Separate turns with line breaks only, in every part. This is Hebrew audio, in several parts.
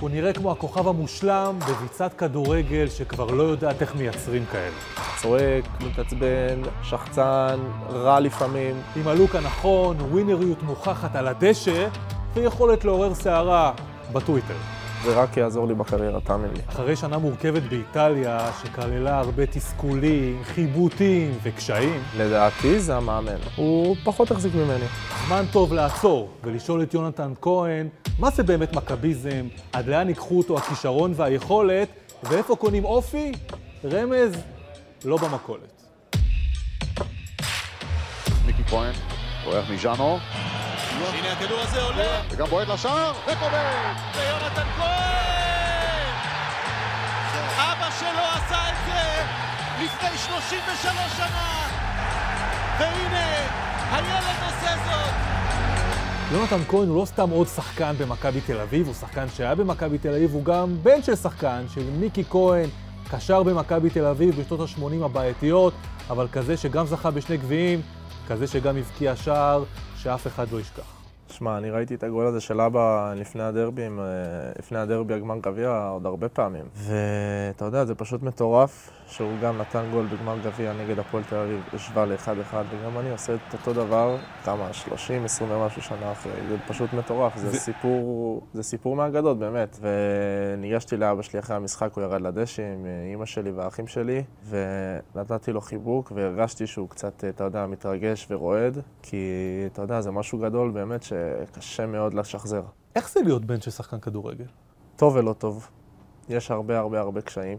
הוא נראה כמו הכוכב המושלם בריצת כדורגל שכבר לא יודעת איך מייצרים כאלה.
צועק, מתעצבן, שחצן, רע לפעמים.
עם הלוק הנכון, ווינריות מוכחת על הדשא ויכולת לעורר סערה בטוויטר.
זה רק יעזור לי בקריירה, תאמין לי.
אחרי שנה מורכבת באיטליה, שכללה הרבה תסכולים, חיבוטים וקשיים,
לדעתי זה המאמן. הוא פחות החזיק ממני.
זמן טוב לעצור ולשאול את יונתן כהן, מה זה באמת מכביזם, עד לאן ייקחו אותו הכישרון והיכולת, ואיפה קונים אופי? רמז, לא במכולת.
מיקי כהן, בורח מז'אנו.
הנה הכדור הזה עולה,
וגם בועט לשער, וקובע!
ויונתן כהן! אבא שלו עשה את זה לפני 33 שנה! והנה, הילד עושה זאת!
יונתן כהן הוא לא סתם עוד שחקן במכבי תל אביב, הוא שחקן שהיה במכבי תל אביב, הוא גם בן של שחקן, של מיקי כהן, קשר במכבי תל אביב בשנות ה-80 הבעייתיות, אבל כזה שגם זכה בשני גביעים, כזה שגם הבקיע שער שאף אחד לא ישכח.
שמע, אני ראיתי את הגול הזה של אבא לפני הדרבי, עם, אה, לפני הדרבי הגמר גביע עוד הרבה פעמים. ואתה יודע, זה פשוט מטורף שהוא גם נתן גול בגמר גביע נגד הפועל תל אביב, השווה לאחד-אחד, וגם אני עושה את אותו דבר, כמה, 30, 20 ומשהו שנה אחרי. זה פשוט מטורף, זה, זה... סיפור, זה סיפור מהאגדות, באמת. וניגשתי לאבא שלי אחרי המשחק, הוא ירד לדשא עם אימא שלי והאחים שלי, ונתתי לו חיבוק, והרגשתי שהוא קצת, אה, אתה יודע, מתרגש ורועד, כי אתה יודע, זה משהו גדול באמת שקשה מאוד לשחזר.
איך זה להיות בן של שחקן כדורגל?
טוב ולא טוב. יש הרבה הרבה הרבה קשיים,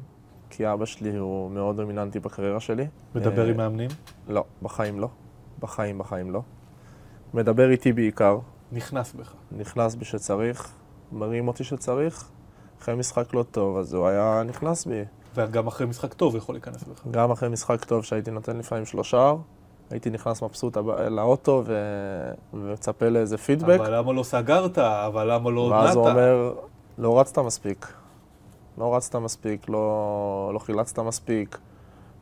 כי אבא שלי הוא מאוד דומיננטי בקריירה שלי.
מדבר
אה,
עם מאמנים?
לא, בחיים לא. בחיים, בחיים לא. מדבר איתי בעיקר,
נכנס בך.
נכנס בי שצריך, מרים אותי שצריך. אחרי משחק לא טוב, אז הוא היה נכנס בי.
וגם אחרי משחק טוב הוא יכול להיכנס בך.
גם אחרי משחק טוב שהייתי נותן לפעמים שלושה, הייתי נכנס מבסוט הב- לאוטו ו... ומצפה לאיזה פידבק.
אבל למה לא סגרת? אבל למה לא הודעת?
ואז הוא אומר, לא רצת מספיק. לא רצת מספיק, לא, לא חילצת מספיק,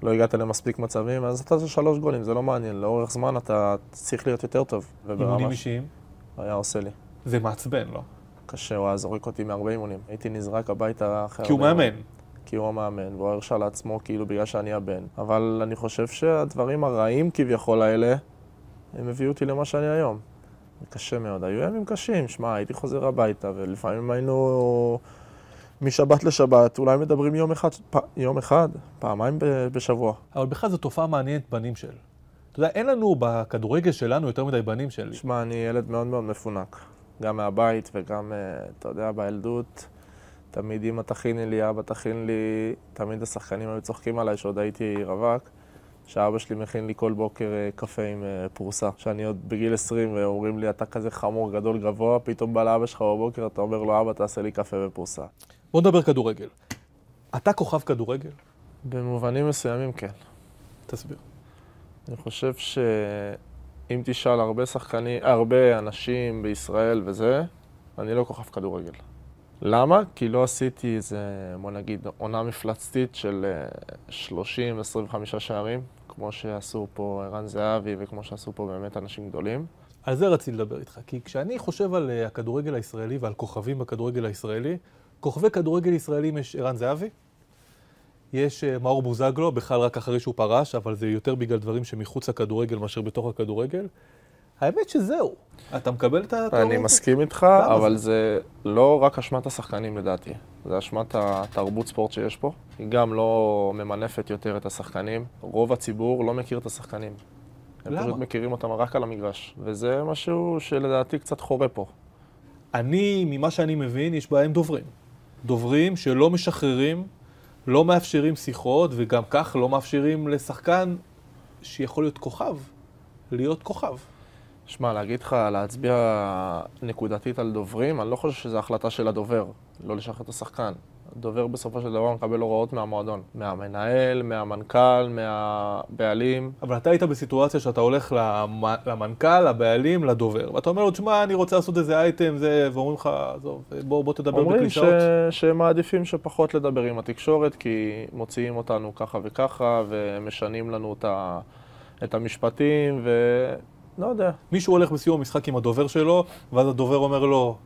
לא הגעת למספיק מצבים, אז אתה זה שלוש גולים, זה לא מעניין. לאורך זמן אתה צריך להיות יותר טוב.
אימונים
ש...
אישיים?
היה עושה לי.
זה מעצבן, לא?
קשה, הוא היה זורק אותי מהרבה אימונים. הייתי נזרק הביתה אחרי...
כי הוא
הרבה אימונים.
מאמן.
כי הוא המאמן, והוא הרשה לעצמו כאילו בגלל שאני הבן. אבל אני חושב שהדברים הרעים כביכול האלה, הם הביאו אותי למה שאני היום. זה קשה מאוד. היו ימים קשים, שמע, הייתי חוזר הביתה, ולפעמים היינו משבת לשבת, אולי מדברים יום אחד, פ... יום אחד, פעמיים ב- בשבוע.
אבל בכלל זו תופעה מעניינת בנים של. אתה יודע, אין לנו בכדורגל שלנו יותר מדי בנים שלי.
שמע, אני ילד מאוד מאוד מפונק. גם מהבית וגם, אה, אתה יודע, בילדות. תמיד אמא תכיני לי, אבא תכין לי, תמיד השחקנים היו צוחקים עליי שעוד הייתי רווק, שאבא שלי מכין לי כל בוקר אה, קפה עם אה, פרוסה. שאני עוד בגיל 20 ואומרים לי, אתה כזה חמור גדול גבוה, פתאום בא לאבא שלך בבוקר, אתה אומר לו, אבא, תעשה לי קפה ופרוסה.
בוא נדבר כדורגל. אתה כוכב כדורגל?
במובנים מסוימים כן.
תסביר.
אני חושב שאם תשאל הרבה שחקנים, הרבה אנשים בישראל וזה, אני לא כוכב כדורגל. למה? כי לא עשיתי איזה, בוא נגיד, עונה מפלצתית של אה, 30-25 שערים, כמו שעשו פה ערן זהבי וכמו שעשו פה באמת אנשים גדולים.
על זה רציתי לדבר איתך, כי כשאני חושב על אה, הכדורגל הישראלי ועל כוכבים בכדורגל הישראלי, כוכבי כדורגל ישראלים יש ערן זהבי, יש אה, מאור בוזגלו, בכלל רק אחרי שהוא פרש, אבל זה יותר בגלל דברים שמחוץ לכדורגל מאשר בתוך הכדורגל. האמת שזהו. אתה מקבל את התיאוריה?
אני
הזאת?
מסכים איתך,
לא למה
אבל זה לא רק אשמת השחקנים לדעתי, זה אשמת התרבות ספורט שיש פה. היא גם לא ממנפת יותר את השחקנים. רוב הציבור לא מכיר את השחקנים. הם
למה?
פשוט מכירים אותם רק על המגרש. וזה משהו שלדעתי קצת חורה פה.
אני, ממה שאני מבין, יש בעיה עם דוברים. דוברים שלא משחררים, לא מאפשרים שיחות, וגם כך לא מאפשרים לשחקן שיכול להיות כוכב, להיות כוכב.
שמע, להגיד לך, להצביע נקודתית על דוברים, אני לא חושב שזו החלטה של הדובר, לא לשחרר את השחקן. הדובר בסופו של דבר מקבל הוראות מהמועדון. מהמנהל, מהמנכ"ל, מהבעלים.
אבל אתה היית בסיטואציה שאתה הולך למ... למנכ"ל, לבעלים, לדובר, ואתה אומר לו, תשמע, אני רוצה לעשות איזה אייטם, זה, ואומרים לך, עזוב, בוא, בוא תדבר
אומרים ש...
בקלישאות.
שהם מעדיפים שפחות לדבר עם התקשורת, כי מוציאים אותנו ככה וככה, ומשנים לנו את, ה... את המשפטים, ו... לא יודע.
מישהו הולך בסיום המשחק עם הדובר שלו, ואז הדובר אומר לו,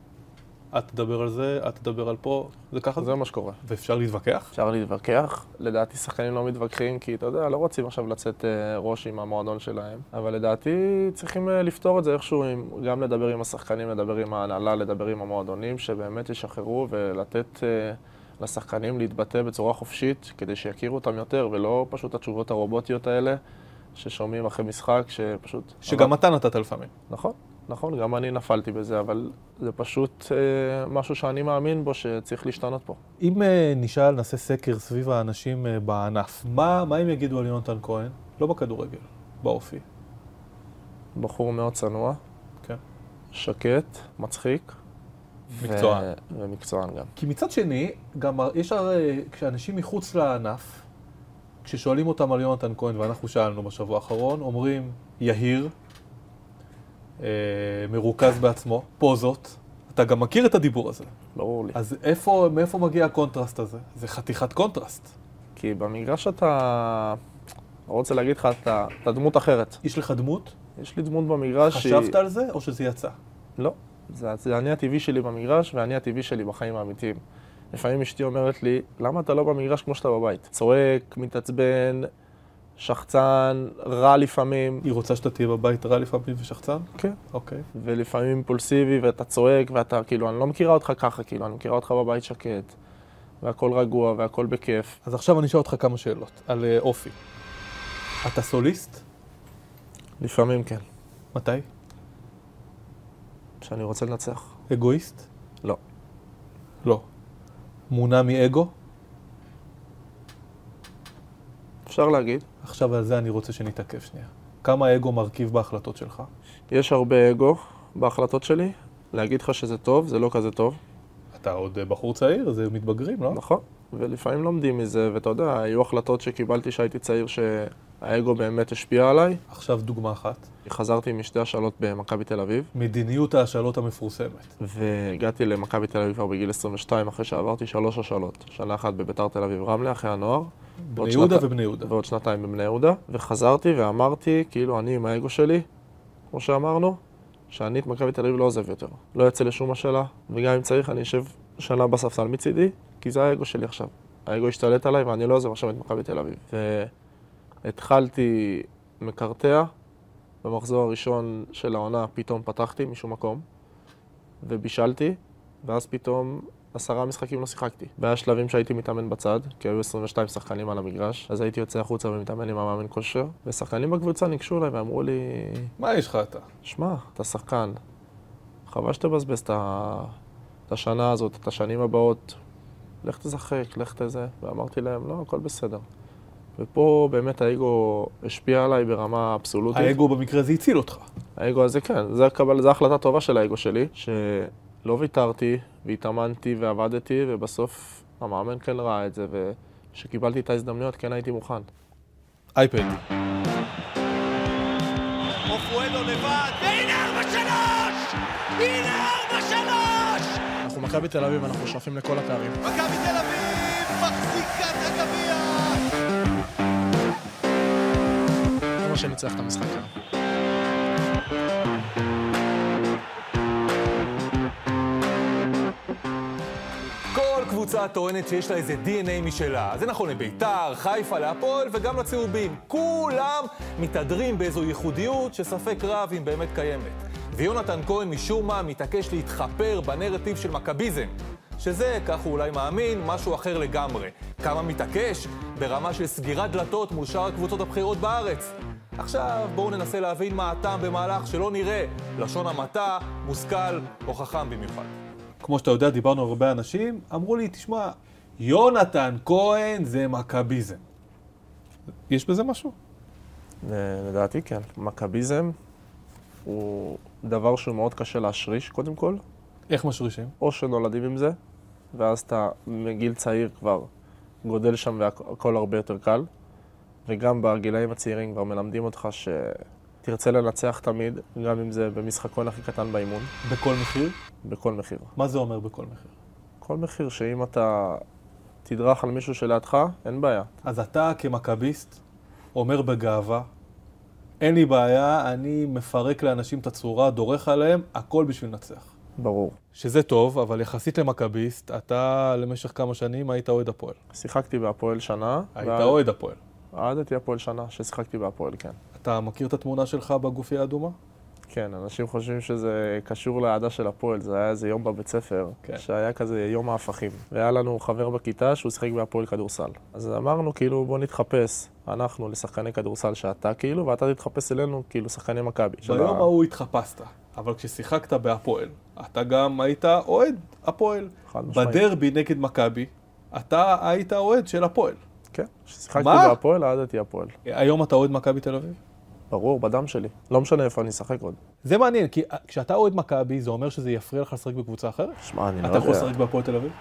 את תדבר על זה, את תדבר על פה, זה ככה זה.
זה מה שקורה.
ואפשר להתווכח?
אפשר להתווכח, לדעתי שחקנים לא מתווכחים כי אתה יודע, לא רוצים עכשיו לצאת אה, ראש עם המועדון שלהם, אבל לדעתי צריכים אה, לפתור את זה איכשהו, עם, גם לדבר עם השחקנים, לדבר עם ההנהלה, לדבר עם המועדונים, שבאמת ישחררו ולתת אה, לשחקנים להתבטא בצורה חופשית, כדי שיכירו אותם יותר, ולא פשוט התשובות הרובוטיות האלה ששומעים אחרי משחק, שפשוט...
שגם אתה נתת לפעמים.
נכון, נכון, גם אני נפלתי בזה, אבל זה פשוט אה, משהו שאני מאמין בו שצריך להשתנות פה.
אם אה, נשאל, נעשה סקר סביב האנשים אה, בענף, מה, מה הם יגידו על יונתן כהן? לא בכדורגל, באופי.
בחור מאוד צנוע.
כן.
שקט, מצחיק.
מקצוען.
ו... ומקצוען גם.
כי מצד שני, גם ה- יש הרי, כשאנשים מחוץ לענף, כששואלים אותם על יונתן כהן, ואנחנו שאלנו בשבוע האחרון, אומרים, יהיר, אה, מרוכז בעצמו, פוזות. אתה גם מכיר את הדיבור הזה.
ברור לי.
אז איפה, מאיפה מגיע הקונטרסט הזה? זה חתיכת קונטרסט.
כי במגרש אתה... לא רוצה להגיד לך, אתה, אתה דמות אחרת.
יש לך דמות?
יש לי דמות במגרש
חשבת על זה או שזה יצא?
לא. זה, זה אני הטבעי שלי במגרש, והאני הטבעי שלי בחיים האמיתיים. לפעמים אשתי אומרת לי, למה אתה לא במגרש כמו שאתה בבית? צועק, מתעצבן, שחצן, רע לפעמים.
היא רוצה שאתה תהיה בבית רע לפעמים ושחצן?
כן.
אוקיי.
ולפעמים אימפולסיבי, ואתה צועק, ואתה כאילו, אני לא מכירה אותך ככה, כאילו, אני מכירה אותך בבית שקט, והכל רגוע, והכל בכיף.
אז עכשיו אני אשאל אותך כמה שאלות על אה, אופי. אתה סוליסט?
לפעמים כן,
מתי?
שאני רוצה לנצח.
אגואיסט?
לא.
לא. מונע מאגו?
אפשר להגיד,
עכשיו על זה אני רוצה שנתעכב שנייה. כמה אגו מרכיב בהחלטות שלך?
יש הרבה אגו בהחלטות שלי. להגיד לך שזה טוב, זה לא כזה טוב,
אתה עוד אה, בחור צעיר, זה מתבגרים, לא?
נכון? ולפעמים לומדים מזה, ואתה יודע, היו החלטות שקיבלתי כשהייתי צעיר שהאגו באמת השפיע עליי.
עכשיו דוגמה אחת.
חזרתי משתי השאלות במכבי תל אביב,
מדיניות ההשאלות המפורסמת.
והגעתי למכבי תל אביב כבר בגיל 22, אחרי שעברתי שלוש השאלות. שנה אחת בביתר תל אביב רמלה, אחרי הנוער,
בני יהודה
שנתי-
ובני יהודה.
ועוד שנתיים בבני יהודה, וחזרתי ואמרתי, כאילו, אני עם האגו שלי, כמו שאמרנו, שאני את מכבי תל אביב לא עוזב יותר. לא יוצא לשום השאלה, וגם אם צריך אני אשב שנה בספסל מצידי, כי זה האגו שלי עכשיו. האגו השתלט עליי ואני לא עוזב עכשיו את מכבי תל אביב. והתחלתי מקרטע, במחזור הראשון של העונה פתאום פתחתי משום מקום, ובישלתי, ואז פתאום עשרה משחקים לא שיחקתי. והיה שלבים שהייתי מתאמן בצד, כי היו 22 שחקנים על המגרש, אז הייתי יוצא החוצה ומתאמן עם המאמן כושר, ושחקנים בקבוצה ניגשו אליי ואמרו לי,
מה יש לך אתה?
שמע, אתה שחקן, חבל שתבזבז את ה- את השנה הזאת, את השנים הבאות, לך תשחק, לך תזה. ואמרתי להם, לא, הכל בסדר. ופה באמת האגו השפיע עליי ברמה אבסולוטית.
האגו במקרה הזה הציל אותך.
האגו הזה כן, זה, הקבל, זה החלטה טובה של האגו שלי, שלא ויתרתי, והתאמנתי ועבדתי, ובסוף המאמן כן ראה את זה, וכשקיבלתי את ההזדמנויות כן הייתי מוכן.
אייפד.
אופואדו לבד, והנה 4-3! הנה 4-3!
אנחנו מכבי תל אביב, אנחנו שואפים לכל הקהרים.
מכבי תל אביב מחזיקה את הגביע!
זה מה שנצטרך את המשחק היום.
כל קבוצה טוענת שיש לה איזה DNA משלה. זה נכון לביתר, חיפה, להפועל וגם לצהובים. כולם מתהדרים באיזו ייחודיות שספק רב אם באמת קיימת. ויונתן כהן משום מה מתעקש להתחפר בנרטיב של מכביזם. שזה, כך הוא אולי מאמין, משהו אחר לגמרי. כמה מתעקש? ברמה של סגירת דלתות מול שאר הקבוצות הבכירות בארץ. עכשיו בואו ננסה להבין מה הטעם במהלך שלא נראה לשון המעטה, מושכל או חכם במיוחד.
כמו שאתה יודע, דיברנו עם הרבה אנשים, אמרו לי, תשמע, יונתן כהן זה מכביזם. יש בזה משהו?
ל- לדעתי כן. מכביזם הוא דבר שהוא מאוד קשה להשריש קודם כל,
איך משרישים?
או שנולדים עם זה, ואז אתה מגיל צעיר כבר גודל שם והכל הרבה יותר קל, וגם בגילאים הצעירים כבר מלמדים אותך שתרצה לנצח תמיד, גם אם זה במשחקון הכי קטן באימון,
בכל מחיר?
בכל מחיר.
מה זה אומר בכל מחיר?
כל מחיר שאם אתה תדרך על מישהו שלידך, אין בעיה.
אז אתה כמכביסט אומר בגאווה, אין לי בעיה, אני מפרק לאנשים את הצורה, דורך עליהם, הכל בשביל לנצח.
ברור.
שזה טוב, אבל יחסית למכביסט, אתה למשך כמה שנים היית אוהד הפועל.
שיחקתי בהפועל שנה.
היית
ואז-
אוהד הפועל.
אהדתי הפועל שנה, ששיחקתי בהפועל, כן.
אתה מכיר את התמונה שלך בגופייה האדומה?
כן, אנשים חושבים שזה קשור לאהדה של הפועל, זה היה איזה יום בבית ספר,
כן.
כן. שהיה כזה יום ההפכים. והיה לנו חבר בכיתה שהוא שיחק בהפועל כדורסל. אז אמרנו, כאילו, בוא נתחפש, אנחנו לשחקני כדורסל שאתה כאילו, ואתה תתחפש אלינו, כאילו, שחקני מכבי. של
ביום
ה-
ההוא התחפשת, אבל כששיחקת בהפועל, אתה גם היית אוהד הפועל.
חד משמעית.
בדרבי נגד מכבי, אתה היית אוהד של הפועל.
כן, כששיחקתי
מה?
בהפועל, אהדתי הפועל.
היום אתה אוהד מכבי תל אביב?
ברור, בדם שלי. לא משנה איפה אני אשחק עוד.
זה מעניין, כי אה, כשאתה אוהד מכבי, זה אומר שזה יפריע לך לשחק בקבוצה אחרת?
שמע, אני לא
אתה יכול
יודע.
לשחק בהפועל תל אביב?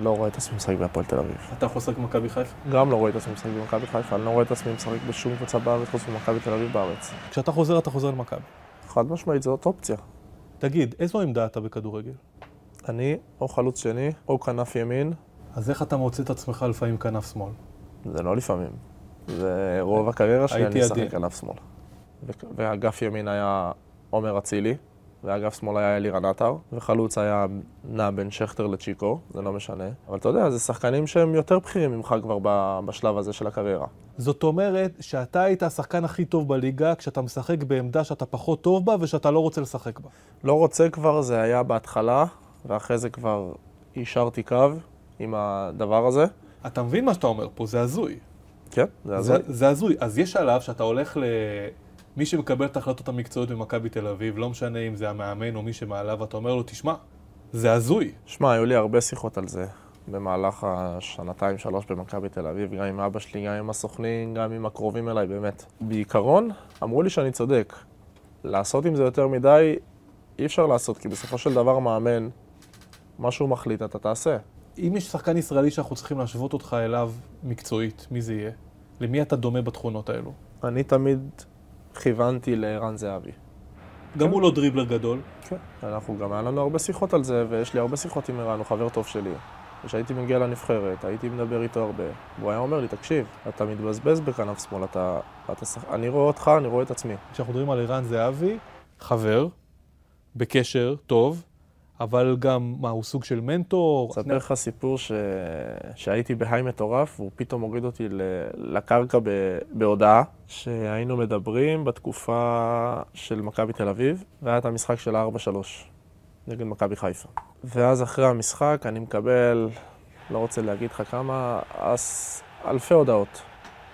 לא רואה את עצמי משחק בהפועל תל אביב.
אתה יכול לשחק במכבי חיפה?
גם לא רואה את עצמי משחק במכבי חיפה, אני לא רואה את עצמי משחק בשום קבוצה בארץ חוץ ממכבי תל אביב בארץ.
כשאתה חוזר, אתה חוזר למכבי.
חד משמעית, זאת אופציה.
תגיד, איזו עמדה אתה בכדורגל?
אני או חלוץ שני, או כנף ימין,
אז איך אתה מוצא את עצמך לפעמים כנף שמאל?
זה לא לפעמים. זה רוב הקריירה שלי,
הייתי
אני אשחק
עדין.
כנף שמאל. ו- ואגף ימין היה עומר אצילי, ואגף שמאל היה אלירן עטר, וחלוץ היה נע בין שכטר לצ'יקו, זה לא משנה. אבל אתה יודע, זה שחקנים שהם יותר בכירים ממך כבר ב- בשלב הזה של הקריירה.
זאת אומרת שאתה היית השחקן הכי טוב בליגה כשאתה משחק בעמדה שאתה פחות טוב בה ושאתה לא רוצה לשחק בה.
לא רוצה כבר, זה היה בהתחלה, ואחרי זה כבר יישרתי קו עם הדבר הזה.
אתה מבין מה שאתה אומר פה, זה הזוי.
כן, זה
זה,
הזוי.
זה הזוי. אז יש שלב שאתה הולך למי שמקבל את ההחלטות המקצועיות במכבי תל אביב, לא משנה אם זה המאמן או מי שמעליו, אתה אומר לו, תשמע, זה הזוי.
שמע, היו לי הרבה שיחות על זה במהלך השנתיים-שלוש במכבי תל אביב, גם עם אבא שלי, גם עם הסוכנים, גם עם הקרובים אליי, באמת. בעיקרון, אמרו לי שאני צודק. לעשות עם זה יותר מדי, אי אפשר לעשות, כי בסופו של דבר מאמן, מה שהוא מחליט אתה תעשה.
אם יש שחקן ישראלי שאנחנו צריכים להשוות אותך אליו מקצועית, מי זה יהיה? למי אתה דומה בתכונות האלו?
אני תמיד כיוונתי לערן זהבי.
גם הוא לא דריבלר גדול,
כן. אנחנו גם, היה לנו הרבה שיחות על זה, ויש לי הרבה שיחות עם ערן, הוא חבר טוב שלי. כשהייתי מגיע לנבחרת, הייתי מדבר איתו הרבה. והוא היה אומר לי, תקשיב, אתה מתבזבז בכנף שמאל, אתה... אתה שח... אני רואה אותך, אני רואה את עצמי.
כשאנחנו מדברים על ערן זהבי, חבר, בקשר טוב, אבל גם, מה, הוא סוג של מנטור?
אספר לך סיפור ש... שהייתי בהיי מטורף, והוא פתאום הוריד אותי ל... לקרקע ב... בהודעה, שהיינו מדברים בתקופה של מכבי תל אביב, והיה את המשחק של ה-4-3 נגד מכבי חיפה. ואז אחרי המשחק אני מקבל, לא רוצה להגיד לך כמה, אז אלפי הודעות.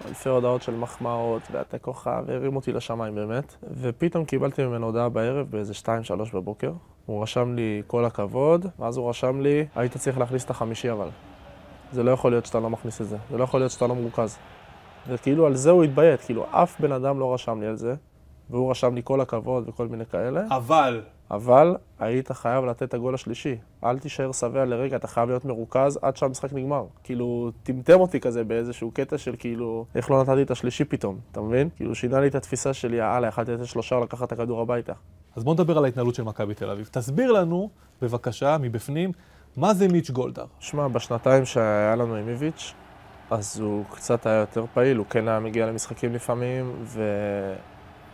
אלפי הודעות של מחמאות, ואתה כוכב, הרים אותי לשמיים באמת. ופתאום קיבלתי ממנו הודעה בערב באיזה 2-3 בבוקר. הוא רשם לי כל הכבוד, ואז הוא רשם לי, היית צריך להכניס את החמישי אבל. זה לא יכול להיות שאתה לא מכניס את זה, זה לא יכול להיות שאתה לא מרוכז. וכאילו על זה הוא התביית, כאילו אף בן אדם לא רשם לי על זה, והוא רשם לי כל הכבוד וכל מיני כאלה,
אבל,
אבל היית חייב לתת את הגול השלישי. אל תישאר שבע לרגע, אתה חייב להיות מרוכז עד שהמשחק נגמר. כאילו, טמטם אותי כזה באיזשהו קטע של כאילו, איך לא נתתי את השלישי פתאום, אתה מבין? כאילו, שינה לי את התפיסה שלי, יאללה, יכלתי לתת שלושה ולקחת את הכדור הביתה.
אז בואו נדבר על ההתנהלות של מכבי תל אביב. תסביר לנו, בבקשה, מבפנים, מה זה מיץ' גולדהר?
שמע, בשנתיים שהיה לנו עם איביץ', אז הוא קצת היה יותר פעיל, הוא כן היה מגיע למשחקים לפעמים,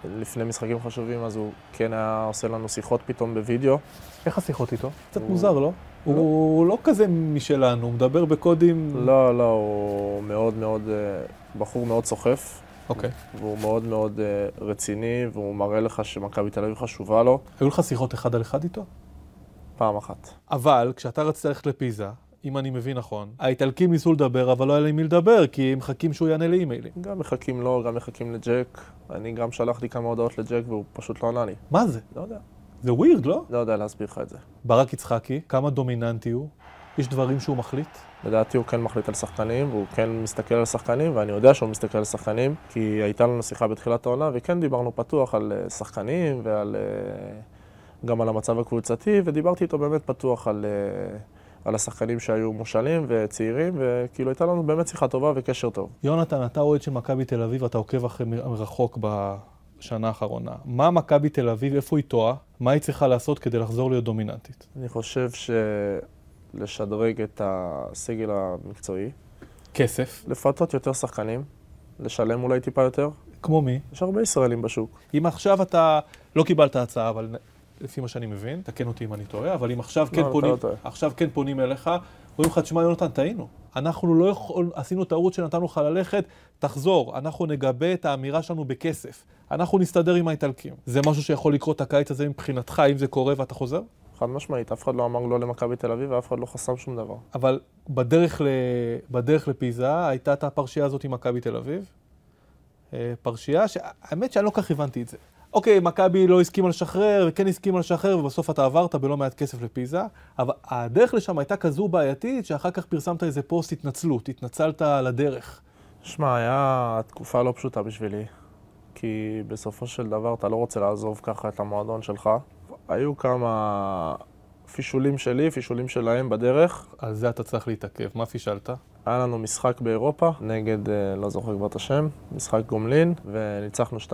ולפני משחקים חשובים אז הוא כן היה עושה לנו שיחות פתאום בווידאו.
איך השיחות איתו? קצת
הוא-
מוזר, לא? הוא לא כזה משלנו, הוא מדבר בקודים...
לא, לא, הוא מאוד מאוד, אה, בחור מאוד סוחף,
אוקיי.
והוא מאוד מאוד אה, רציני, והוא מראה לך שמכבי תל אביב חשובה לו,
היו לך שיחות אחד על אחד איתו?
פעם אחת.
אבל כשאתה רצית ללכת לפיזה, אם אני מבין נכון, האיטלקים ניסו לדבר, אבל לא היה להם מי לדבר, כי הם מחכים שהוא יענה לאימיילים.
גם מחכים לו, גם מחכים לג'ק, אני גם שלחתי כמה הודעות לג'ק והוא פשוט לא ענה לי.
מה זה?
לא יודע,
זה ווירד, לא?
לא יודע להסביר לך את זה.
ברק יצחקי, כמה דומיננטי הוא? יש דברים שהוא מחליט?
לדעתי הוא כן מחליט על שחקנים, והוא כן מסתכל על שחקנים, ואני יודע שהוא מסתכל על שחקנים, כי הייתה לנו שיחה בתחילת העונה, וכן דיברנו פתוח על אה, שחקנים ועל... אה, גם על המצב הקבוצתי, ודיברתי איתו באמת פתוח על, אה, על השחקנים שהיו מושאלים וצעירים, וכאילו הייתה לנו באמת שיחה טובה וקשר טוב.
יונתן, אתה אוהד של מכבי תל אביב, אתה עוקב אחרי מ- מרחוק בשנה האחרונה. מה מכבי תל אביב, איפה היא טועה? מה היא צריכה לעשות כדי לחזור להיות דומיננטית?
אני חושב שלשדרג את הסגל המקצועי,
כסף.
לפתות יותר שחקנים, לשלם אולי טיפה יותר,
כמו מי?
יש הרבה ישראלים בשוק.
אם עכשיו אתה לא קיבלת הצעה, אבל נ- לפי מה שאני מבין, תקן אותי אם אני טועה, אבל אם עכשיו
לא,
כן
אתה
פונים,
לא טועה.
עכשיו כן פונים אליך, אומרים לך, תשמע, יונתן, טעינו. אנחנו לא יכול, עשינו טעות שנתנו לך ללכת, תחזור, אנחנו נגבה את האמירה שלנו בכסף. אנחנו נסתדר עם האיטלקים. זה משהו שיכול לקרות הקיץ הזה מבחינתך, אם זה קורה ואתה חוזר?
חד משמעית, אף אחד לא אמר לא למכבי תל אביב ואף אחד לא חסם שום דבר.
אבל בדרך, ל... בדרך לפיזה הייתה את הפרשייה הזאת עם מכבי תל אביב. אה, פרשייה שהאמת שאני לא כל כך הבנתי את זה. אוקיי, מכבי לא הסכימה לשחרר, וכן הסכימה לשחרר, ובסוף אתה עברת בלא מעט כסף לפיזה, אבל הדרך לשם הייתה כזו בעייתית, שאחר כך פרסמת איזה פוסט התנצלות, התנצלת על הדרך.
שמע, היה תקופה לא פשוטה בשבילי, כי בסופו של דבר אתה לא רוצה לעזוב ככה את המועדון שלך. היו כמה פישולים שלי, פישולים שלהם בדרך.
על זה אתה צריך להתעכב, מה פישלת?
היה לנו משחק באירופה נגד, אה, לא זוכר כבר את השם, משחק גומלין, וניצחנו 2-0,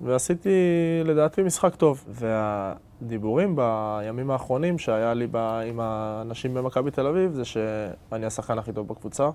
ועשיתי לדעתי משחק טוב. והדיבורים בימים האחרונים שהיה לי ב... עם האנשים במכבי תל אביב זה שאני השחקן הכי טוב בקבוצה,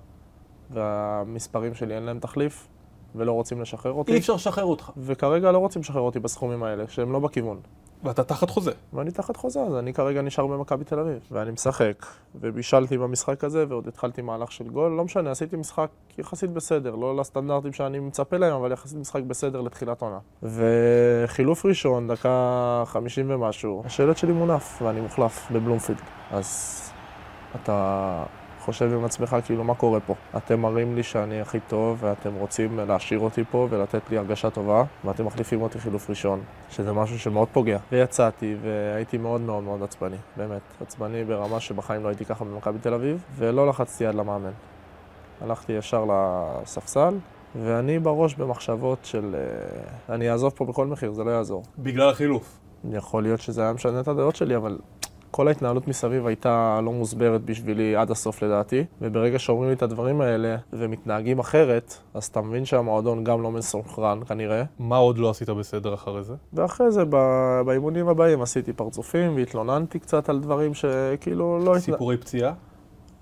והמספרים שלי אין להם תחליף, ולא רוצים לשחרר
אי
אותי,
אפשר לשחרר אותך,
וכרגע לא רוצים לשחרר אותי בסכומים האלה, שהם לא בכיוון.
ואתה תחת חוזה.
ואני תחת חוזה, אז אני כרגע נשאר במכבי תל אביב. ואני משחק, ובישלתי במשחק הזה, ועוד התחלתי מהלך של גול. לא משנה, עשיתי משחק יחסית בסדר, לא לסטנדרטים שאני מצפה להם, אבל יחסית משחק בסדר לתחילת עונה. וחילוף ראשון, דקה 50 ומשהו, השלט שלי מונף, ואני מוחלף בבלומפילד. אז אתה חושב עם עצמך, כאילו, מה קורה פה? אתם מראים לי שאני הכי טוב, ואתם רוצים להשאיר אותי פה ולתת לי הרגשה טובה, ואתם מחליפים אותי חילוף ראשון, שזה משהו שמאוד פוגע. ויצאתי, והייתי מאוד מאוד מאוד עצבני, באמת. עצבני ברמה שבחיים לא הייתי ככה במכבי תל אביב, ולא לחצתי יד למאמן. הלכתי ישר לספסל, ואני בראש במחשבות של... אה, אני אעזוב פה בכל מחיר, זה לא יעזור.
בגלל החילוף.
יכול להיות שזה היה משנה את הדעות שלי, אבל כל ההתנהלות מסביב הייתה לא מוסברת בשבילי עד הסוף לדעתי, וברגע שאומרים לי את הדברים האלה ומתנהגים אחרת, אז אתה מבין שהמועדון גם לא מסונכרן כנראה.
מה עוד לא עשית בסדר אחרי זה?
ואחרי זה ב- באימונים הבאים עשיתי פרצופים והתלוננתי קצת על דברים שכאילו לא... התנה-
סיפורי פציעה,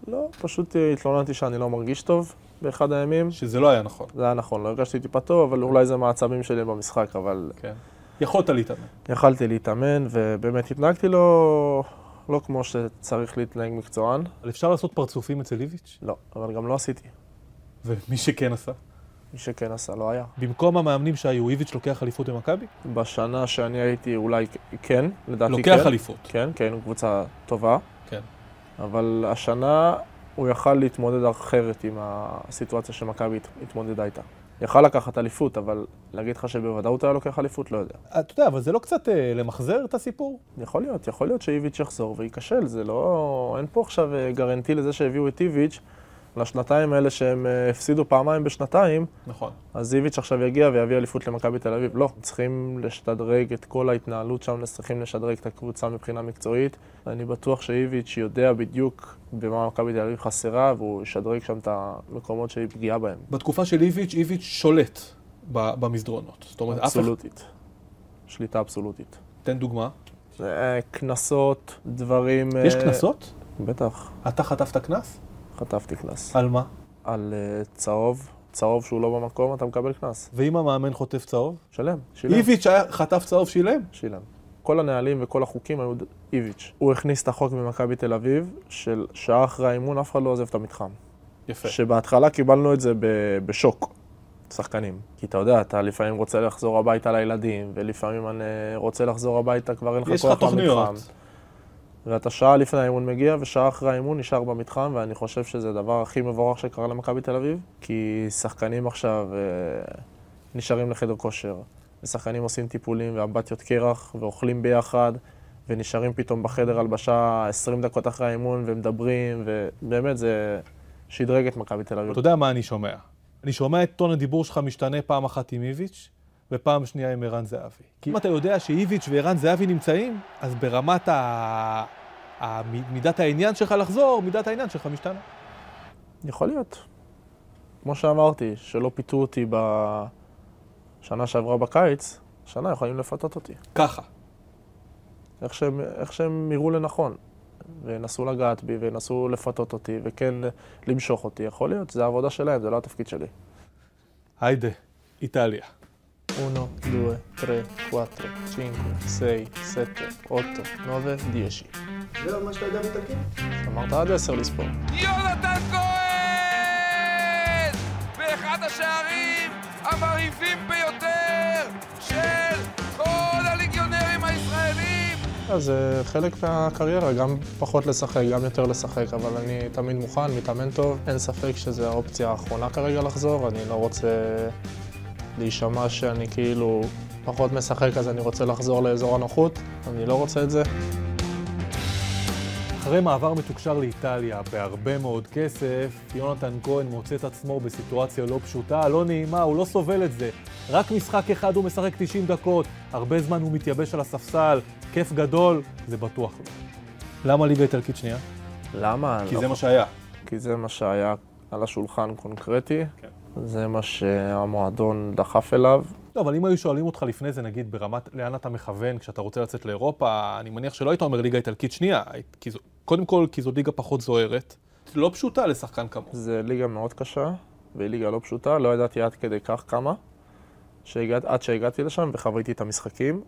לא, פשוט התלוננתי שאני לא מרגיש טוב באחד הימים.
שזה לא היה נכון,
זה היה נכון, לא הרגשתי טיפה טוב, אבל אולי זה מהעצבים שלי במשחק, אבל
כן. יכולת להתאמן.
יכלתי להתאמן, ובאמת התנהגתי לא, לא כמו שצריך להתנהג מקצוען.
אבל אפשר לעשות פרצופים אצל איביץ'?
לא, אבל גם לא עשיתי.
ומי שכן עשה?
מי שכן עשה לא היה.
במקום המאמנים שהיו, איביץ' לוקח אליפות במכבי?
בשנה שאני הייתי אולי כן, לדעתי כן.
לוקח אליפות.
כן, כי היינו קבוצה טובה,
כן.
אבל השנה הוא יכל להתמודד אחרת עם הסיטואציה שמכבי הת- התמודדה איתה. יכל לקחת אליפות, אבל להגיד לך שבוודאות היה לוקח אליפות, לא יודע.
אתה יודע, אבל זה לא קצת אה, למחזר את הסיפור?
יכול להיות, יכול להיות שאיביץ' יחזור וייכשל, זה לא... אין פה עכשיו אה, גרנטי לזה שהביאו את איביץ' לשנתיים האלה שהם אה, הפסידו פעמיים בשנתיים,
נכון.
אז איביץ' עכשיו יגיע ויביא אליפות למכבי תל אביב. לא, צריכים לשדרג את כל ההתנהלות שם, צריכים לשדרג את הקבוצה מבחינה מקצועית. אני בטוח שאיביץ' יודע בדיוק במה מכבי תל אביב חסרה, והוא ישדרג שם את המקומות שהיא פגיעה בהם.
בתקופה של איביץ', איביץ' שולט ב- במסדרונות. זאת אומרת, אף אחד...
אבסולוטית. שליטה אבסולוטית.
תן דוגמה.
אה, קנסות, דברים...
יש
אה,
קנסות?
בטח,
אתה חטפת קנס?
חטפתי קנס.
על מה?
על אה, צהוב, צהוב שהוא לא במקום, אתה מקבל קנס.
ואם המאמן חוטף צהוב?
שלם, שילם.
איביץ' היה- חטף צהוב, שילם?
שילם. כל הנהלים וכל החוקים היו ד- איביץ'. הוא הכניס את החוק במכבי תל אביב, של שעה אחרי האימון אף אחד לא עוזב את המתחם.
יפה.
שבהתחלה קיבלנו את זה ב- בשוק, שחקנים. כי אתה יודע, אתה לפעמים רוצה לחזור הביתה לילדים, ולפעמים אני אה, רוצה לחזור הביתה, כבר אין לך
יש
כוח
לך תוכניות.
למתחם. ואתה שעה לפני האימון מגיע, ושעה אחרי האימון נשאר במתחם, ואני חושב שזה הדבר הכי מבורך שקרה למכבי תל אביב, כי שחקנים עכשיו אה, נשארים לחדר כושר, ושחקנים עושים טיפולים ואמבטיות קרח, ואוכלים ביחד, ונשארים פתאום בחדר הלבשה 20 דקות אחרי האימון, ומדברים, ובאמת זה שדרג את מכבי תל אביב.
אתה יודע מה אני שומע? אני שומע את טון הדיבור שלך משתנה פעם אחת עם איביץ', ופעם שנייה עם ערן זהבי. כי אם אתה יודע שאיביץ' וערן זהבי נמצאים, אז ברמת ה... ה... מידת העניין שלך לחזור, מידת העניין שלך משתנה.
יכול להיות. כמו שאמרתי, שלא פיתו אותי בשנה שעברה בקיץ, השנה יכולים לפתות אותי.
ככה.
איך שהם, איך שהם יראו לנכון. וינסו לגעת בי, וינסו לפתות אותי, וכן אה, למשוך אותי. יכול להיות, זה העבודה שלהם, זה לא התפקיד שלי.
היידה, איטליה.
1, 2, 3, 4, 5, 6, 7, 8, 9, 10.
זהו, מה שאתה יודע באיטלקית?
אמרת עד 10 לספור.
יונתן כהן! באחד השערים המרהיבים ביותר של כל הליגיונרים הישראלים!
אז אה, זה חלק מהקריירה, גם פחות לשחק, גם יותר לשחק, אבל אני תמיד מוכן, מתאמן טוב. אין ספק שזו האופציה האחרונה כרגע לחזור, אני לא רוצה להישמע שאני כאילו פחות משחק, אז אני רוצה לחזור לאזור הנוחות, אני לא רוצה את זה.
אחרי מעבר מתוקשר לאיטליה בהרבה מאוד כסף, יונתן כהן מוצא את עצמו בסיטואציה לא פשוטה, לא נעימה, הוא לא סובל את זה. רק משחק אחד הוא משחק 90 דקות, הרבה זמן הוא מתייבש על הספסל, כיף גדול, זה בטוח לא. למה ליגה איטלקית שנייה?
למה?
כי זה מה שהיה.
כי זה מה שהיה על השולחן קונקרטי, זה מה שהמועדון דחף אליו.
לא, אבל אם היו שואלים אותך לפני זה, נגיד, ברמת לאן אתה מכוון כשאתה רוצה לצאת לאירופה, אני מניח שלא היית אומר ליגה איטלקית שנייה, היית- כי זו, קודם כל כי זו ליגה פחות זוהרת, לא פשוטה לשחקן כמוך.
זה ליגה מאוד קשה, והיא ליגה לא פשוטה, לא ידעתי עד כדי כך כמה, שהגעת, עד שהגעתי לשם וחוויתי את המשחקים,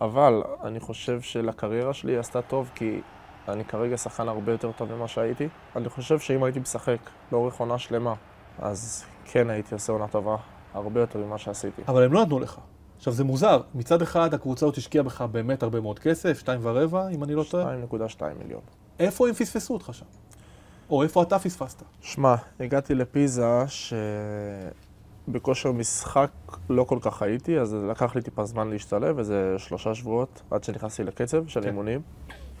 אבל אני חושב שלקריירה שלי היא עשתה טוב, כי אני כרגע שחקן הרבה יותר טוב ממה שהייתי. אני חושב שאם הייתי משחק לאורך עונה שלמה, אז כן הייתי עושה עונה טובה, הרבה יותר ממה שעשיתי.
אבל הם לא נתנו לך. עכשיו, זה מוזר. מצד אחד, הקבוצה הזאת השקיעה בך באמת הרבה מאוד כסף, שתיים ורבע, אם אני לא טועה.
2.2 מיליון.
איפה הם פספסו אותך שם? או איפה אתה פספסת?
שמע, הגעתי לפיזה שבכושר משחק לא כל כך הייתי, אז לקח לי טיפה זמן להשתלב, איזה שלושה שבועות עד שנכנסתי לקצב של אימונים.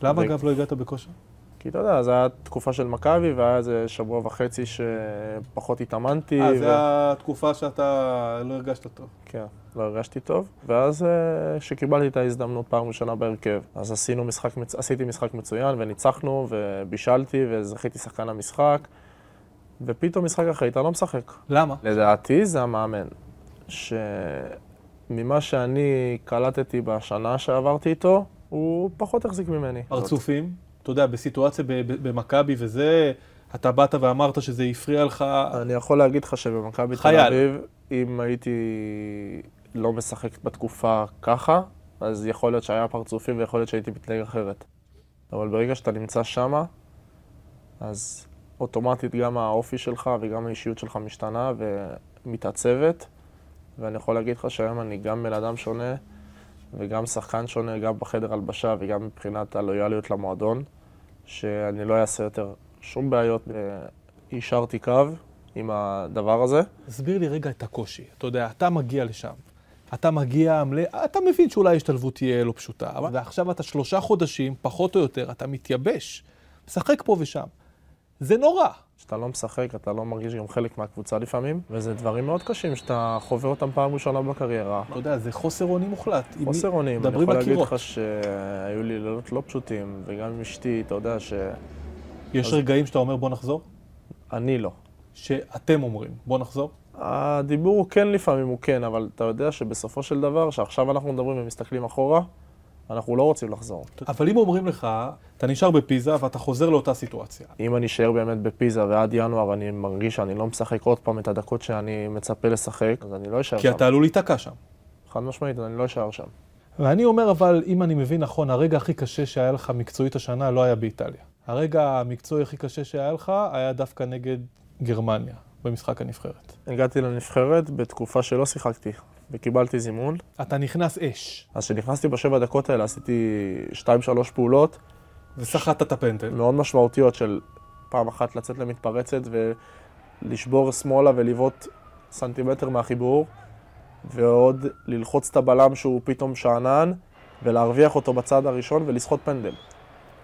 למה,
זה-
אגב, לא הגעת בכושר?
כי אתה יודע, זו הייתה תקופה של מכבי, והיה איזה שבוע וחצי שפחות התאמנתי.
אה,
ו-
זו התקופה שאתה לא הרגשת טוב.
כן, לא הרגשתי טוב. ואז כשקיבלתי את ההזדמנות פעם ראשונה בהרכב, אז עשינו משחק, מצ- עשיתי משחק מצוין, וניצחנו, ובישלתי, וזכיתי שחקן המשחק, ופתאום משחק אחרי אתה לא משחק.
למה?
לדעתי זה המאמן, שממה שאני קלטתי בשנה שעברתי איתו, הוא פחות החזיק ממני.
פרצופים, אתה יודע, בסיטואציה ב- ב- במכבי וזה, אתה באת ואמרת שזה הפריע לך,
אני יכול להגיד לך שבמכבי תל
חייל.
אביב, אם הייתי לא משחק בתקופה ככה, אז יכול להיות שהיה פרצופים ויכול להיות שהייתי מתנהג אחרת. אבל ברגע שאתה נמצא שמה, אז אוטומטית גם האופי שלך וגם האישיות שלך משתנה ומתעצבת, ואני יכול להגיד לך שהיום אני גם בן אדם שונה וגם שחקן שונה, גם בחדר הלבשה וגם מבחינת הלויאליות למועדון, שאני לא אעשה יותר שום בעיות. אה, יישרתי קו עם הדבר הזה.
תסביר לי רגע את הקושי. אתה יודע, אתה מגיע לשם, אתה מגיע, מלא- אתה מבין שאולי ההשתלבות תהיה לא פשוטה, אבל ועכשיו אתה שלושה חודשים, פחות או יותר, אתה מתייבש, משחק פה ושם. זה נורא.
כשאתה לא משחק, אתה לא מרגיש גם חלק מהקבוצה לפעמים, וזה דברים מאוד קשים שאתה חווה אותם פעם ראשונה בקריירה.
אתה יודע, זה חוסר אונים מוחלט. עם מי-
חוסר אונים, אני
מדברים
יכול
על
להגיד
קירות.
לך שהיו לי לילות לא פשוטים, וגם עם אשתי, אתה יודע שאני
יש רגעים שאתה אומר בוא נחזור?
לא.
שאתם אומרים בוא נחזור?
הדיבור הוא כן לפעמים, הוא כן, אבל אתה יודע שבסופו של דבר, שעכשיו אנחנו מדברים ומסתכלים אחורה, אנחנו לא רוצים לחזור.
אבל אם אומרים לך, אתה נשאר בפיזה ואתה חוזר לאותה סיטואציה.
אם אני אשאר באמת בפיזה ועד ינואר אני מרגיש שאני לא משחק עוד פעם את הדקות שאני מצפה לשחק, אז אני לא אשאר
כי
שם.
אתה עלול להיתקע שם.
חד משמעית, אני לא אשאר שם.
ואני אומר, אבל, אם אני מבין נכון, הרגע הכי קשה שהיה לך מקצועית השנה לא היה באיטליה. הרגע המקצועי הכי קשה שהיה לך היה דווקא נגד גרמניה, במשחק הנבחרת.
הגעתי לנבחרת בתקופה שלא שיחקתי, וקיבלתי זימון.
אתה נכנס אש,
אז כשנכנסתי בשבע דקות האלה עשיתי שתיים, שלוש פעולות
וסחטת את הפנדל.
מאוד משמעותיות של פעם אחת לצאת למתפרצת ולשבור שמאלה ולבעוט סנטימטר מהחיבור, ועוד ללחוץ את הבלם שהוא פתאום שאנן, ולהרוויח אותו בצד הראשון ולסחוט פנדל.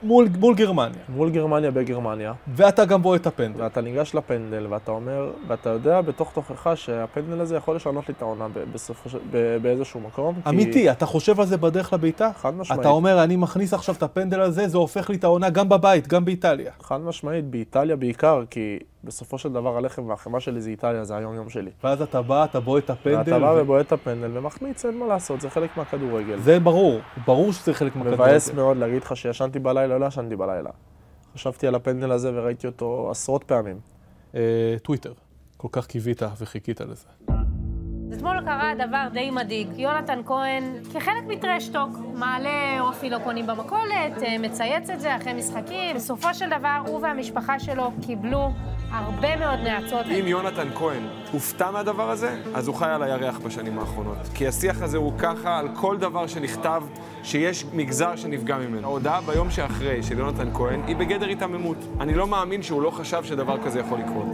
מול, מול גרמניה.
מול גרמניה בגרמניה,
ואתה גם בועט את הפנדל.
ואתה ניגש לפנדל, ואתה אומר, ואתה יודע בתוך תוכך שהפנדל הזה יכול לשנות לי את העונה ב- בסופו של... ב- באיזשהו מקום. כי-
אמיתי, אתה חושב על זה בדרך לבעיטה?
חד משמעית.
אתה אומר, אני מכניס עכשיו את הפנדל הזה, זה הופך לי את העונה גם בבית, גם באיטליה.
חד משמעית, באיטליה בעיקר, כי בסופו של דבר הלחם והחמאה שלי זה איטליה, זה היום-יום שלי.
ואז אתה בא, אתה בועט את הפנדל.
ואתה בא
ו-
ובועט את הפנדל ומחמיץ, אין מה לעשות, זה חלק מהכדורגל.
זה ברור, ברור שזה חלק מהכדורגל.
מבאס מאוד להגיד לך שישנתי בלילה, לא ישנתי בלילה. חשבתי על הפנדל הזה וראיתי אותו עשרות פעמים.
אה, טוויטר. כל כך קיווית וחיכית לזה.
אתמול קרה דבר די מדאיג. יונתן כהן, כחלק מטרשטוק, מעלה אופי לא קונים במכולת, אה, מצייץ את זה אחרי משחקים. בסופו של דבר, הוא והמשפחה שלו קיבלו הרבה מאוד נאצות.
אם יונתן כהן הופתע מהדבר הזה, אז הוא חי על הירח בשנים האחרונות. כי השיח הזה הוא ככה על כל דבר שנכתב, שיש מגזר שנפגע ממנו. ההודעה ביום שאחרי של יונתן כהן היא בגדר היתממות. אני לא מאמין שהוא לא חשב שדבר כזה יכול לקרות.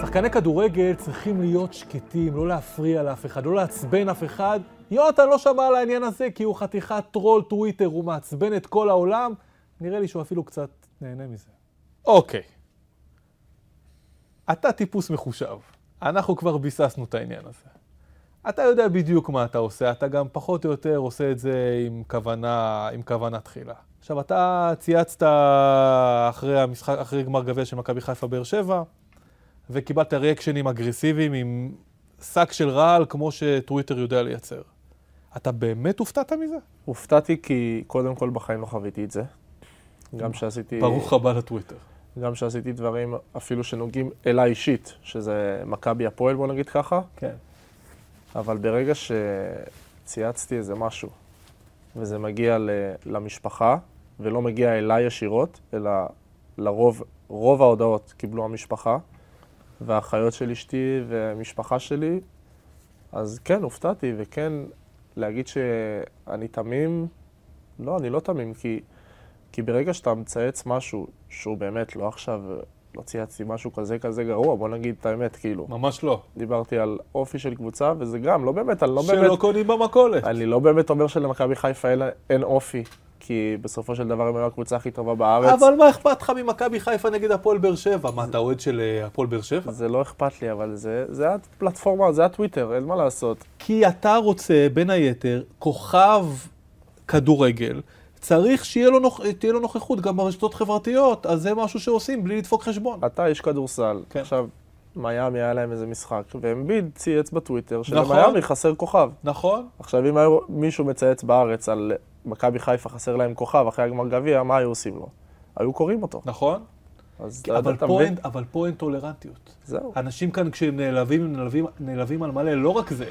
שחקני כדורגל צריכים להיות שקטים, לא להפריע לאף אחד, לא לעצבן אף אחד. יונתן לא שמע על העניין הזה כי הוא חתיכת טרול טוויטר, הוא מעצבן את כל העולם. נראה לי שהוא אפילו קצת נהנה מזה. אוקיי. אתה טיפוס מחושב. אנחנו כבר ביססנו את העניין הזה. אתה יודע בדיוק מה אתה עושה, אתה גם פחות או יותר עושה את זה עם כוונה, עם כוונה תחילה. עכשיו, אתה צייצת אחרי, המשחק, אחרי גמר גביע של מכבי חיפה באר שבע, וקיבלת ריאקשנים אגרסיביים עם שק של רעל כמו שטוויטר יודע לייצר. אתה באמת הופתעת מזה?
הופתעתי כי קודם כל בחיים לא חוויתי את זה. גם שעשיתי...
ברוך הבא לטוויטר.
גם שעשיתי דברים אפילו שנוגעים אליי אישית, שזה מכבי הפועל, בוא נגיד ככה.
כן.
אבל ברגע שצייצתי איזה משהו, וזה מגיע ל, למשפחה, ולא מגיע אליי ישירות, אלא לרוב, רוב ההודעות קיבלו המשפחה, והאחיות של אשתי והמשפחה שלי, אז כן, הופתעתי, וכן, להגיד שאני תמים, לא, אני לא תמים, כי, כי ברגע שאתה מצייץ משהו שהוא באמת לא עכשיו, לא צייצתי משהו כזה כזה גרוע, בוא נגיד את האמת, כאילו.
ממש לא.
דיברתי על אופי של קבוצה, וזה גם, לא באמת, אני לא באמת,
שלא קונים במכולת.
אני לא באמת אומר שלמכבי חיפה אין, אין אופי, כי בסופו של דבר הם היו הקבוצה הכי טובה בארץ.
אבל מה אכפת לך ממכבי חיפה נגד הפועל באר שבע? מה, אתה אוהד של אה, הפועל באר שבע?
זה לא אכפת לי, אבל זה, זה הפלטפורמה, זה הטוויטר, אין מה לעשות.
כי אתה רוצה, בין היתר, כוכב כדורגל, צריך שתהיה לו, נוכ... תהיה לו נוכחות גם ברשתות חברתיות, אז זה משהו שעושים בלי לדפוק חשבון.
אתה איש כדורסל,
כן.
עכשיו, מיאמי היה להם איזה משחק, ואמביד צייץ בטוויטר
נכון.
שלמיאמי חסר כוכב.
נכון?
עכשיו, אם היה מישהו מצייץ בארץ על מכבי חיפה חסר להם כוכב אחרי הגמר גביע, מה היו עושים לו? היו קוראים אותו.
נכון?
אז
אבל
אתה
פה,
מבין?
אין, אבל פה אין טולרנטיות.
זהו.
אנשים כאן, כשהם נעלבים, הם נעלבים, נעלבים על מלא. לא רק זה,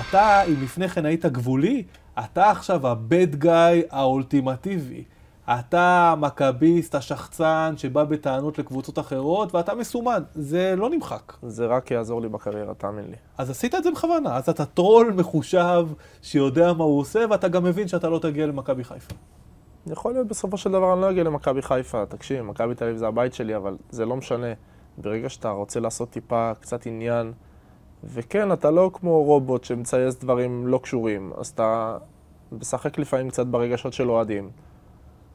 אתה, אם לפני כן היית גבולי, אתה עכשיו הבד גאי האולטימטיבי. אתה המכביסט, השחצן, שבא בטענות לקבוצות אחרות, ואתה מסומן. זה לא נמחק.
זה רק יעזור לי בקריירה, תאמין לי.
אז עשית את זה בכוונה. אז אתה טרול מחושב, שיודע מה הוא עושה, ואתה גם מבין שאתה לא תגיע למכבי חיפה.
יכול להיות בסופו של דבר אני לא אגיע למכבי חיפה, תקשיב, מכבי תל אביב זה הבית שלי, אבל זה לא משנה. ברגע שאתה רוצה לעשות טיפה, קצת עניין, וכן, אתה לא כמו רובוט שמצייץ דברים לא קשורים, אז אתה משחק לפעמים קצת ברגשות של אוהדים.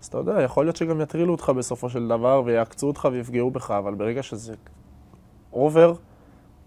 אז אתה יודע, יכול להיות שגם יטרילו אותך בסופו של דבר, ויעקצו אותך ויפגעו בך, אבל ברגע שזה אובר,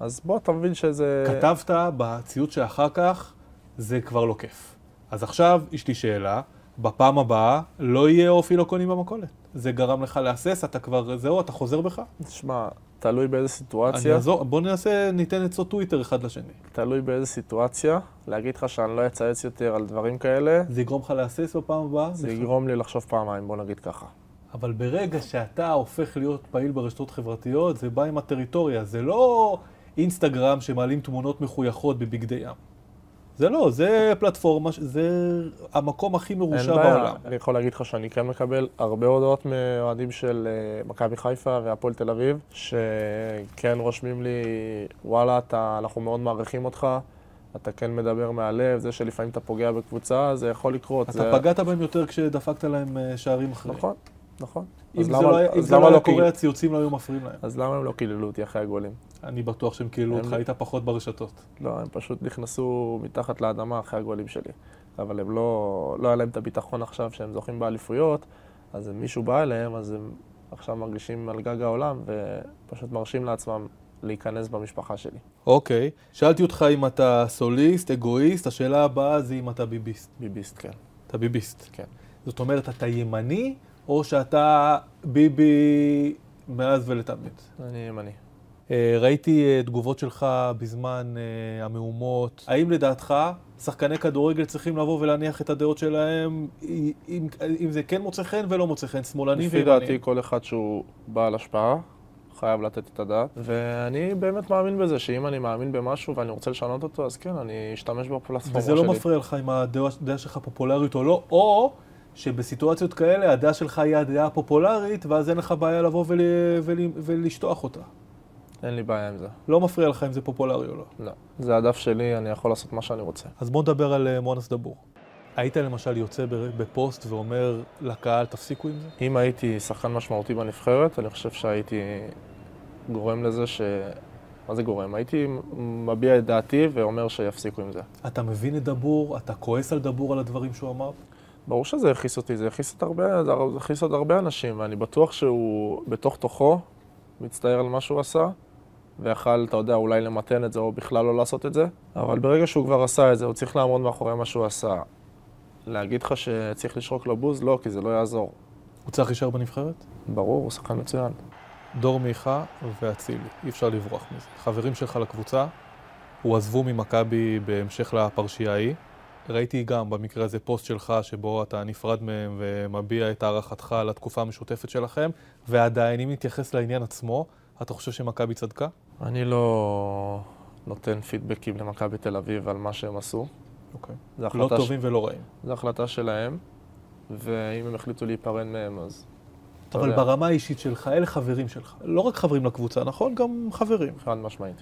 אז בוא, אתה מבין שזה...
כתבת בציוץ שאחר כך, זה כבר לא כיף. אז עכשיו יש לי שאלה, בפעם הבאה לא יהיה אופי לא קונים במכולת. זה גרם לך להסס, אתה כבר, זהו, אתה חוזר בך?
תשמע, תלוי באיזה
אני
סיטואציה.
אעזור, בוא ננסה, ניתן עצות טוויטר אחד לשני.
תלוי באיזה סיטואציה. להגיד לך שאני לא אצייץ יותר על דברים כאלה,
זה יגרום לך להסס בפעם הבאה?
זה יגרום לי לחשוב פעמיים, בוא נגיד ככה.
אבל ברגע שאתה הופך להיות פעיל ברשתות חברתיות, זה בא עם הטריטוריה, זה לא אינסטגרם שמעלים תמונות מחויכות בבגדי ים. זה לא, זה פלטפורמה, ש- זה המקום הכי
אין
מרושע
בעיה,
בעולם.
אני יכול להגיד לך שאני כן מקבל הרבה הודעות מאוהדים של אה, מכבי חיפה והפועל תל אביב, שכן רושמים לי, וואלה, אתה, אנחנו מאוד מעריכים אותך, אתה כן מדבר מהלב, זה שלפעמים אתה פוגע בקבוצה, זה יכול לקרות.
אתה
זה...
פגעת בהם יותר כשדפקת להם אה, שערים אחרים.
נכון, נכון.
אם
אז
זה
למה-
לא היה- אם
אז
זה
למה
לא היה
לא קיל-
קורה, הציוצים לא היו מפריעים להם.
אז למה הם לא קיללו אותי אחרי הגולים?
אני בטוח שהם קיללו אותך,
הם-
היית פחות ברשתות.
לא, הם פשוט נכנסו מתחת לאדמה אחרי הגולים שלי. אבל הם לא, לא היה להם את הביטחון עכשיו שהם זוכים באליפויות, אז אם מישהו בא אליהם, אז הם עכשיו מרגישים על גג העולם ופשוט מרשים לעצמם להיכנס במשפחה שלי.
אוקיי. שאלתי אותך אם אתה סוליסט, אגואיסט, השאלה הבאה זה אם אתה ביביסט.
ביביסט, כן.
אתה ביביסט.
כן.
זאת אומרת, אתה ימני, או שאתה ביבי מאז ולתמיד?
אני ימני.
אה, ראיתי אה, תגובות שלך בזמן אה, המהומות. האם לדעתך שחקני כדורגל צריכים לבוא ולהניח את הדעות שלהם, אי- אם, אם זה כן מוצא חן ולא מוצא חן, שמאלנים
לפי
וימנים?
דעתי, כל אחד שהוא בעל השפעה, חייב לתת את הדעת. ואני באמת מאמין בזה, שאם אני מאמין במשהו ואני רוצה לשנות אותו, אז כן, אני אשתמש בפלטפורמה
וזה
שלי.
לא מפריע לך אם הדעה הדעה שלך פופולרית או לא, או שבסיטואציות כאלה הדעה שלך היא הדעה הפופולרית, ואז אין לך בעיה לבוא ול, ול, ולשטוח אותה.
אין לי בעיה עם זה.
לא מפריע לך אם זה פופולרי או לא.
לא. זה הדף שלי, אני יכול לעשות מה שאני רוצה.
אז בואו נדבר על אה, מואנס דבור. היית למשל יוצא ב- בפוסט ואומר לקהל, תפסיקו עם זה?
אם הייתי שחקן משמעותי בנבחרת, אני חושב שהייתי גורם לזה ש... מה זה גורם? הייתי מביע את דעתי ואומר שיפסיקו עם זה.
אתה מבין את דבור, אתה כועס על דבור על הדברים שהוא אמר?
ברור שזה הכעיס אותי, זה הכעיס את הרבה, זה הר- זה הכעיס עוד הרבה אנשים, ואני בטוח שהוא בתוך תוכו מצטער על מה שהוא עשה, ויכל, אתה יודע, אולי למתן את זה או בכלל לא לעשות את זה, אבל ברגע שהוא כבר עשה את זה, הוא צריך לעמוד מאחורי מה שהוא עשה. להגיד לך שצריך לשרוק לו בוז? לא, כי זה לא יעזור.
הוא צריך להישאר בנבחרת?
ברור, הוא שחקן מצוין.
דור מיכה ואצילי, אי אפשר לברוח מזה. חברים שלך לקבוצה, הועזבו ממכבי בהמשך לפרשייה ההיא. ראיתי גם במקרה הזה פוסט שלך שבו אתה נפרד מהם ומביע את הערכתך על התקופה המשותפת שלכם, ועדיין, אם נתייחס לעניין עצמו, אתה חושב שמכבי צדקה?
אני לא נותן פידבקים למכבי תל אביב על מה שהם עשו.
אוקיי.
זו
לא
החלטה,
טובים ולא רעים.
זו החלטה שלהם, ואם הם החליטו להיפרד מהם, אז... אתה
אבל
יודע,
ברמה האישית שלך, אלה חברים שלך. לא רק חברים לקבוצה, נכון? גם חברים.
חד משמעית.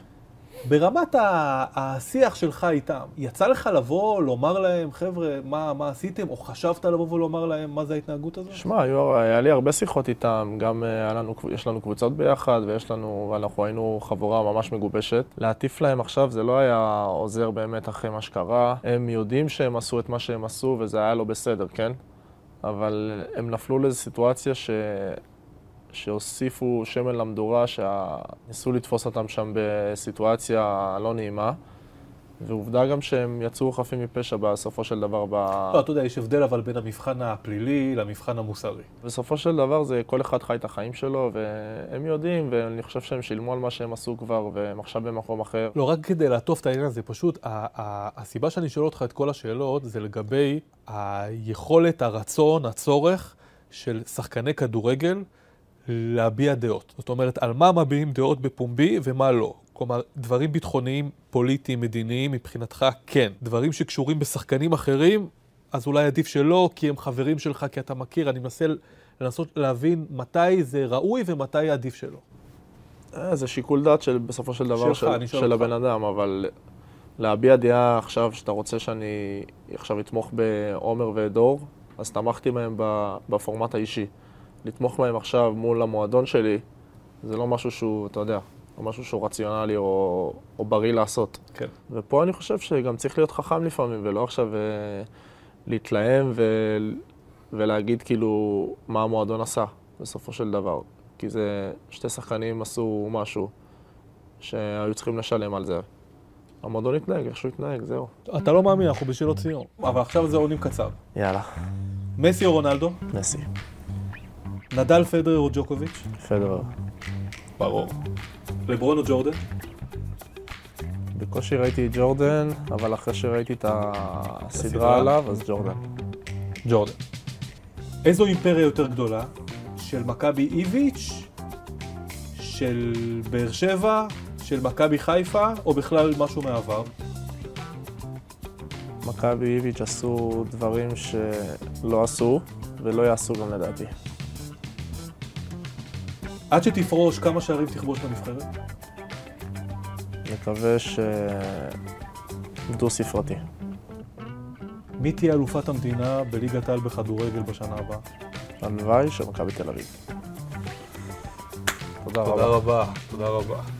ברמת ה- השיח שלך איתם, יצא לך לבוא, לומר להם, חבר'ה, מה, מה עשיתם? או חשבת לבוא ולומר להם מה זה ההתנהגות הזאת?
שמע, היו- היה לי הרבה שיחות איתם, גם אה, היה לנו, יש לנו קבוצות ביחד, ויש לנו, אנחנו היינו חבורה ממש מגובשת. להטיף להם עכשיו זה לא היה עוזר באמת אחרי מה שקרה. הם יודעים שהם עשו את מה שהם עשו, וזה היה לא בסדר, כן? אבל הם נפלו לאיזו סיטואציה ש... שהוסיפו שמן למדורה, שניסו לתפוס אותם שם בסיטואציה לא נעימה. ועובדה גם שהם יצאו חפים מפשע בסופו של דבר ב...
לא, אתה יודע, יש הבדל אבל בין המבחן הפלילי למבחן המוסרי.
בסופו של דבר זה כל אחד חי את החיים שלו, והם יודעים, ואני חושב שהם שילמו על מה שהם עשו כבר, והם עכשיו במקום אחר.
לא, רק כדי לעטוף את העניין הזה, פשוט ה- ה- הסיבה שאני שואל אותך את כל השאלות זה לגבי היכולת, הרצון, הצורך של שחקני כדורגל להביע דעות. זאת אומרת, על מה מביעים דעות בפומבי ומה לא. כלומר, דברים ביטחוניים, פוליטיים, מדיניים, מבחינתך כן. דברים שקשורים בשחקנים אחרים, אז אולי עדיף שלא, כי הם חברים שלך, כי אתה מכיר. אני מנסה לנסות להבין מתי זה ראוי ומתי עדיף שלא.
אה, זה שיקול דעת של, בסופו של דבר
שלך,
של,
אני שואל
של
אותך.
הבן אדם, אבל להביע דעה עכשיו שאתה רוצה שאני עכשיו אתמוך בעומר ודור, אז תמכתי בהם ב- בפורמט האישי. לתמוך בהם עכשיו מול המועדון שלי, זה לא משהו שהוא, אתה יודע, לא משהו שהוא רציונלי או, או בריא לעשות.
כן.
ופה אני חושב שגם צריך להיות חכם לפעמים, ולא עכשיו אה, להתלהם ו... ולהגיד כאילו מה המועדון עשה בסופו של דבר. כי זה, שתי שחקנים עשו משהו שהיו צריכים לשלם על זה. המועדון התנהג איך שהוא התנהג, זהו.
אתה לא מאמין, אנחנו בשאלות ציון. אבל עכשיו זה עונים קצר.
יאללה,
מסי או רונלדו?
נסי,
נדל, פדרר או ג'וקוביץ'?
פדרר.
ברור. לברון או ג'ורדן?
בקושי ראיתי את ג'ורדן, אבל אחרי שראיתי את
הסדרה?
הסדרה עליו, אז ג'ורדן.
ג'ורדן. איזו אימפריה יותר גדולה? של מכבי איביץ'? של באר שבע? של מכבי חיפה? או בכלל משהו מהעבר?
מכבי איביץ' עשו דברים שלא עשו, ולא יעשו גם לדעתי.
עד שתפרוש, כמה שערים תכבוש לנבחרת?
נקווה ש... דו-ספרתי.
מי תהיה אלופת המדינה בליגת העל בכדורגל בשנה הבאה?
הלוואי של מכבי תל אביב. תודה רבה.
רבה. תודה רבה.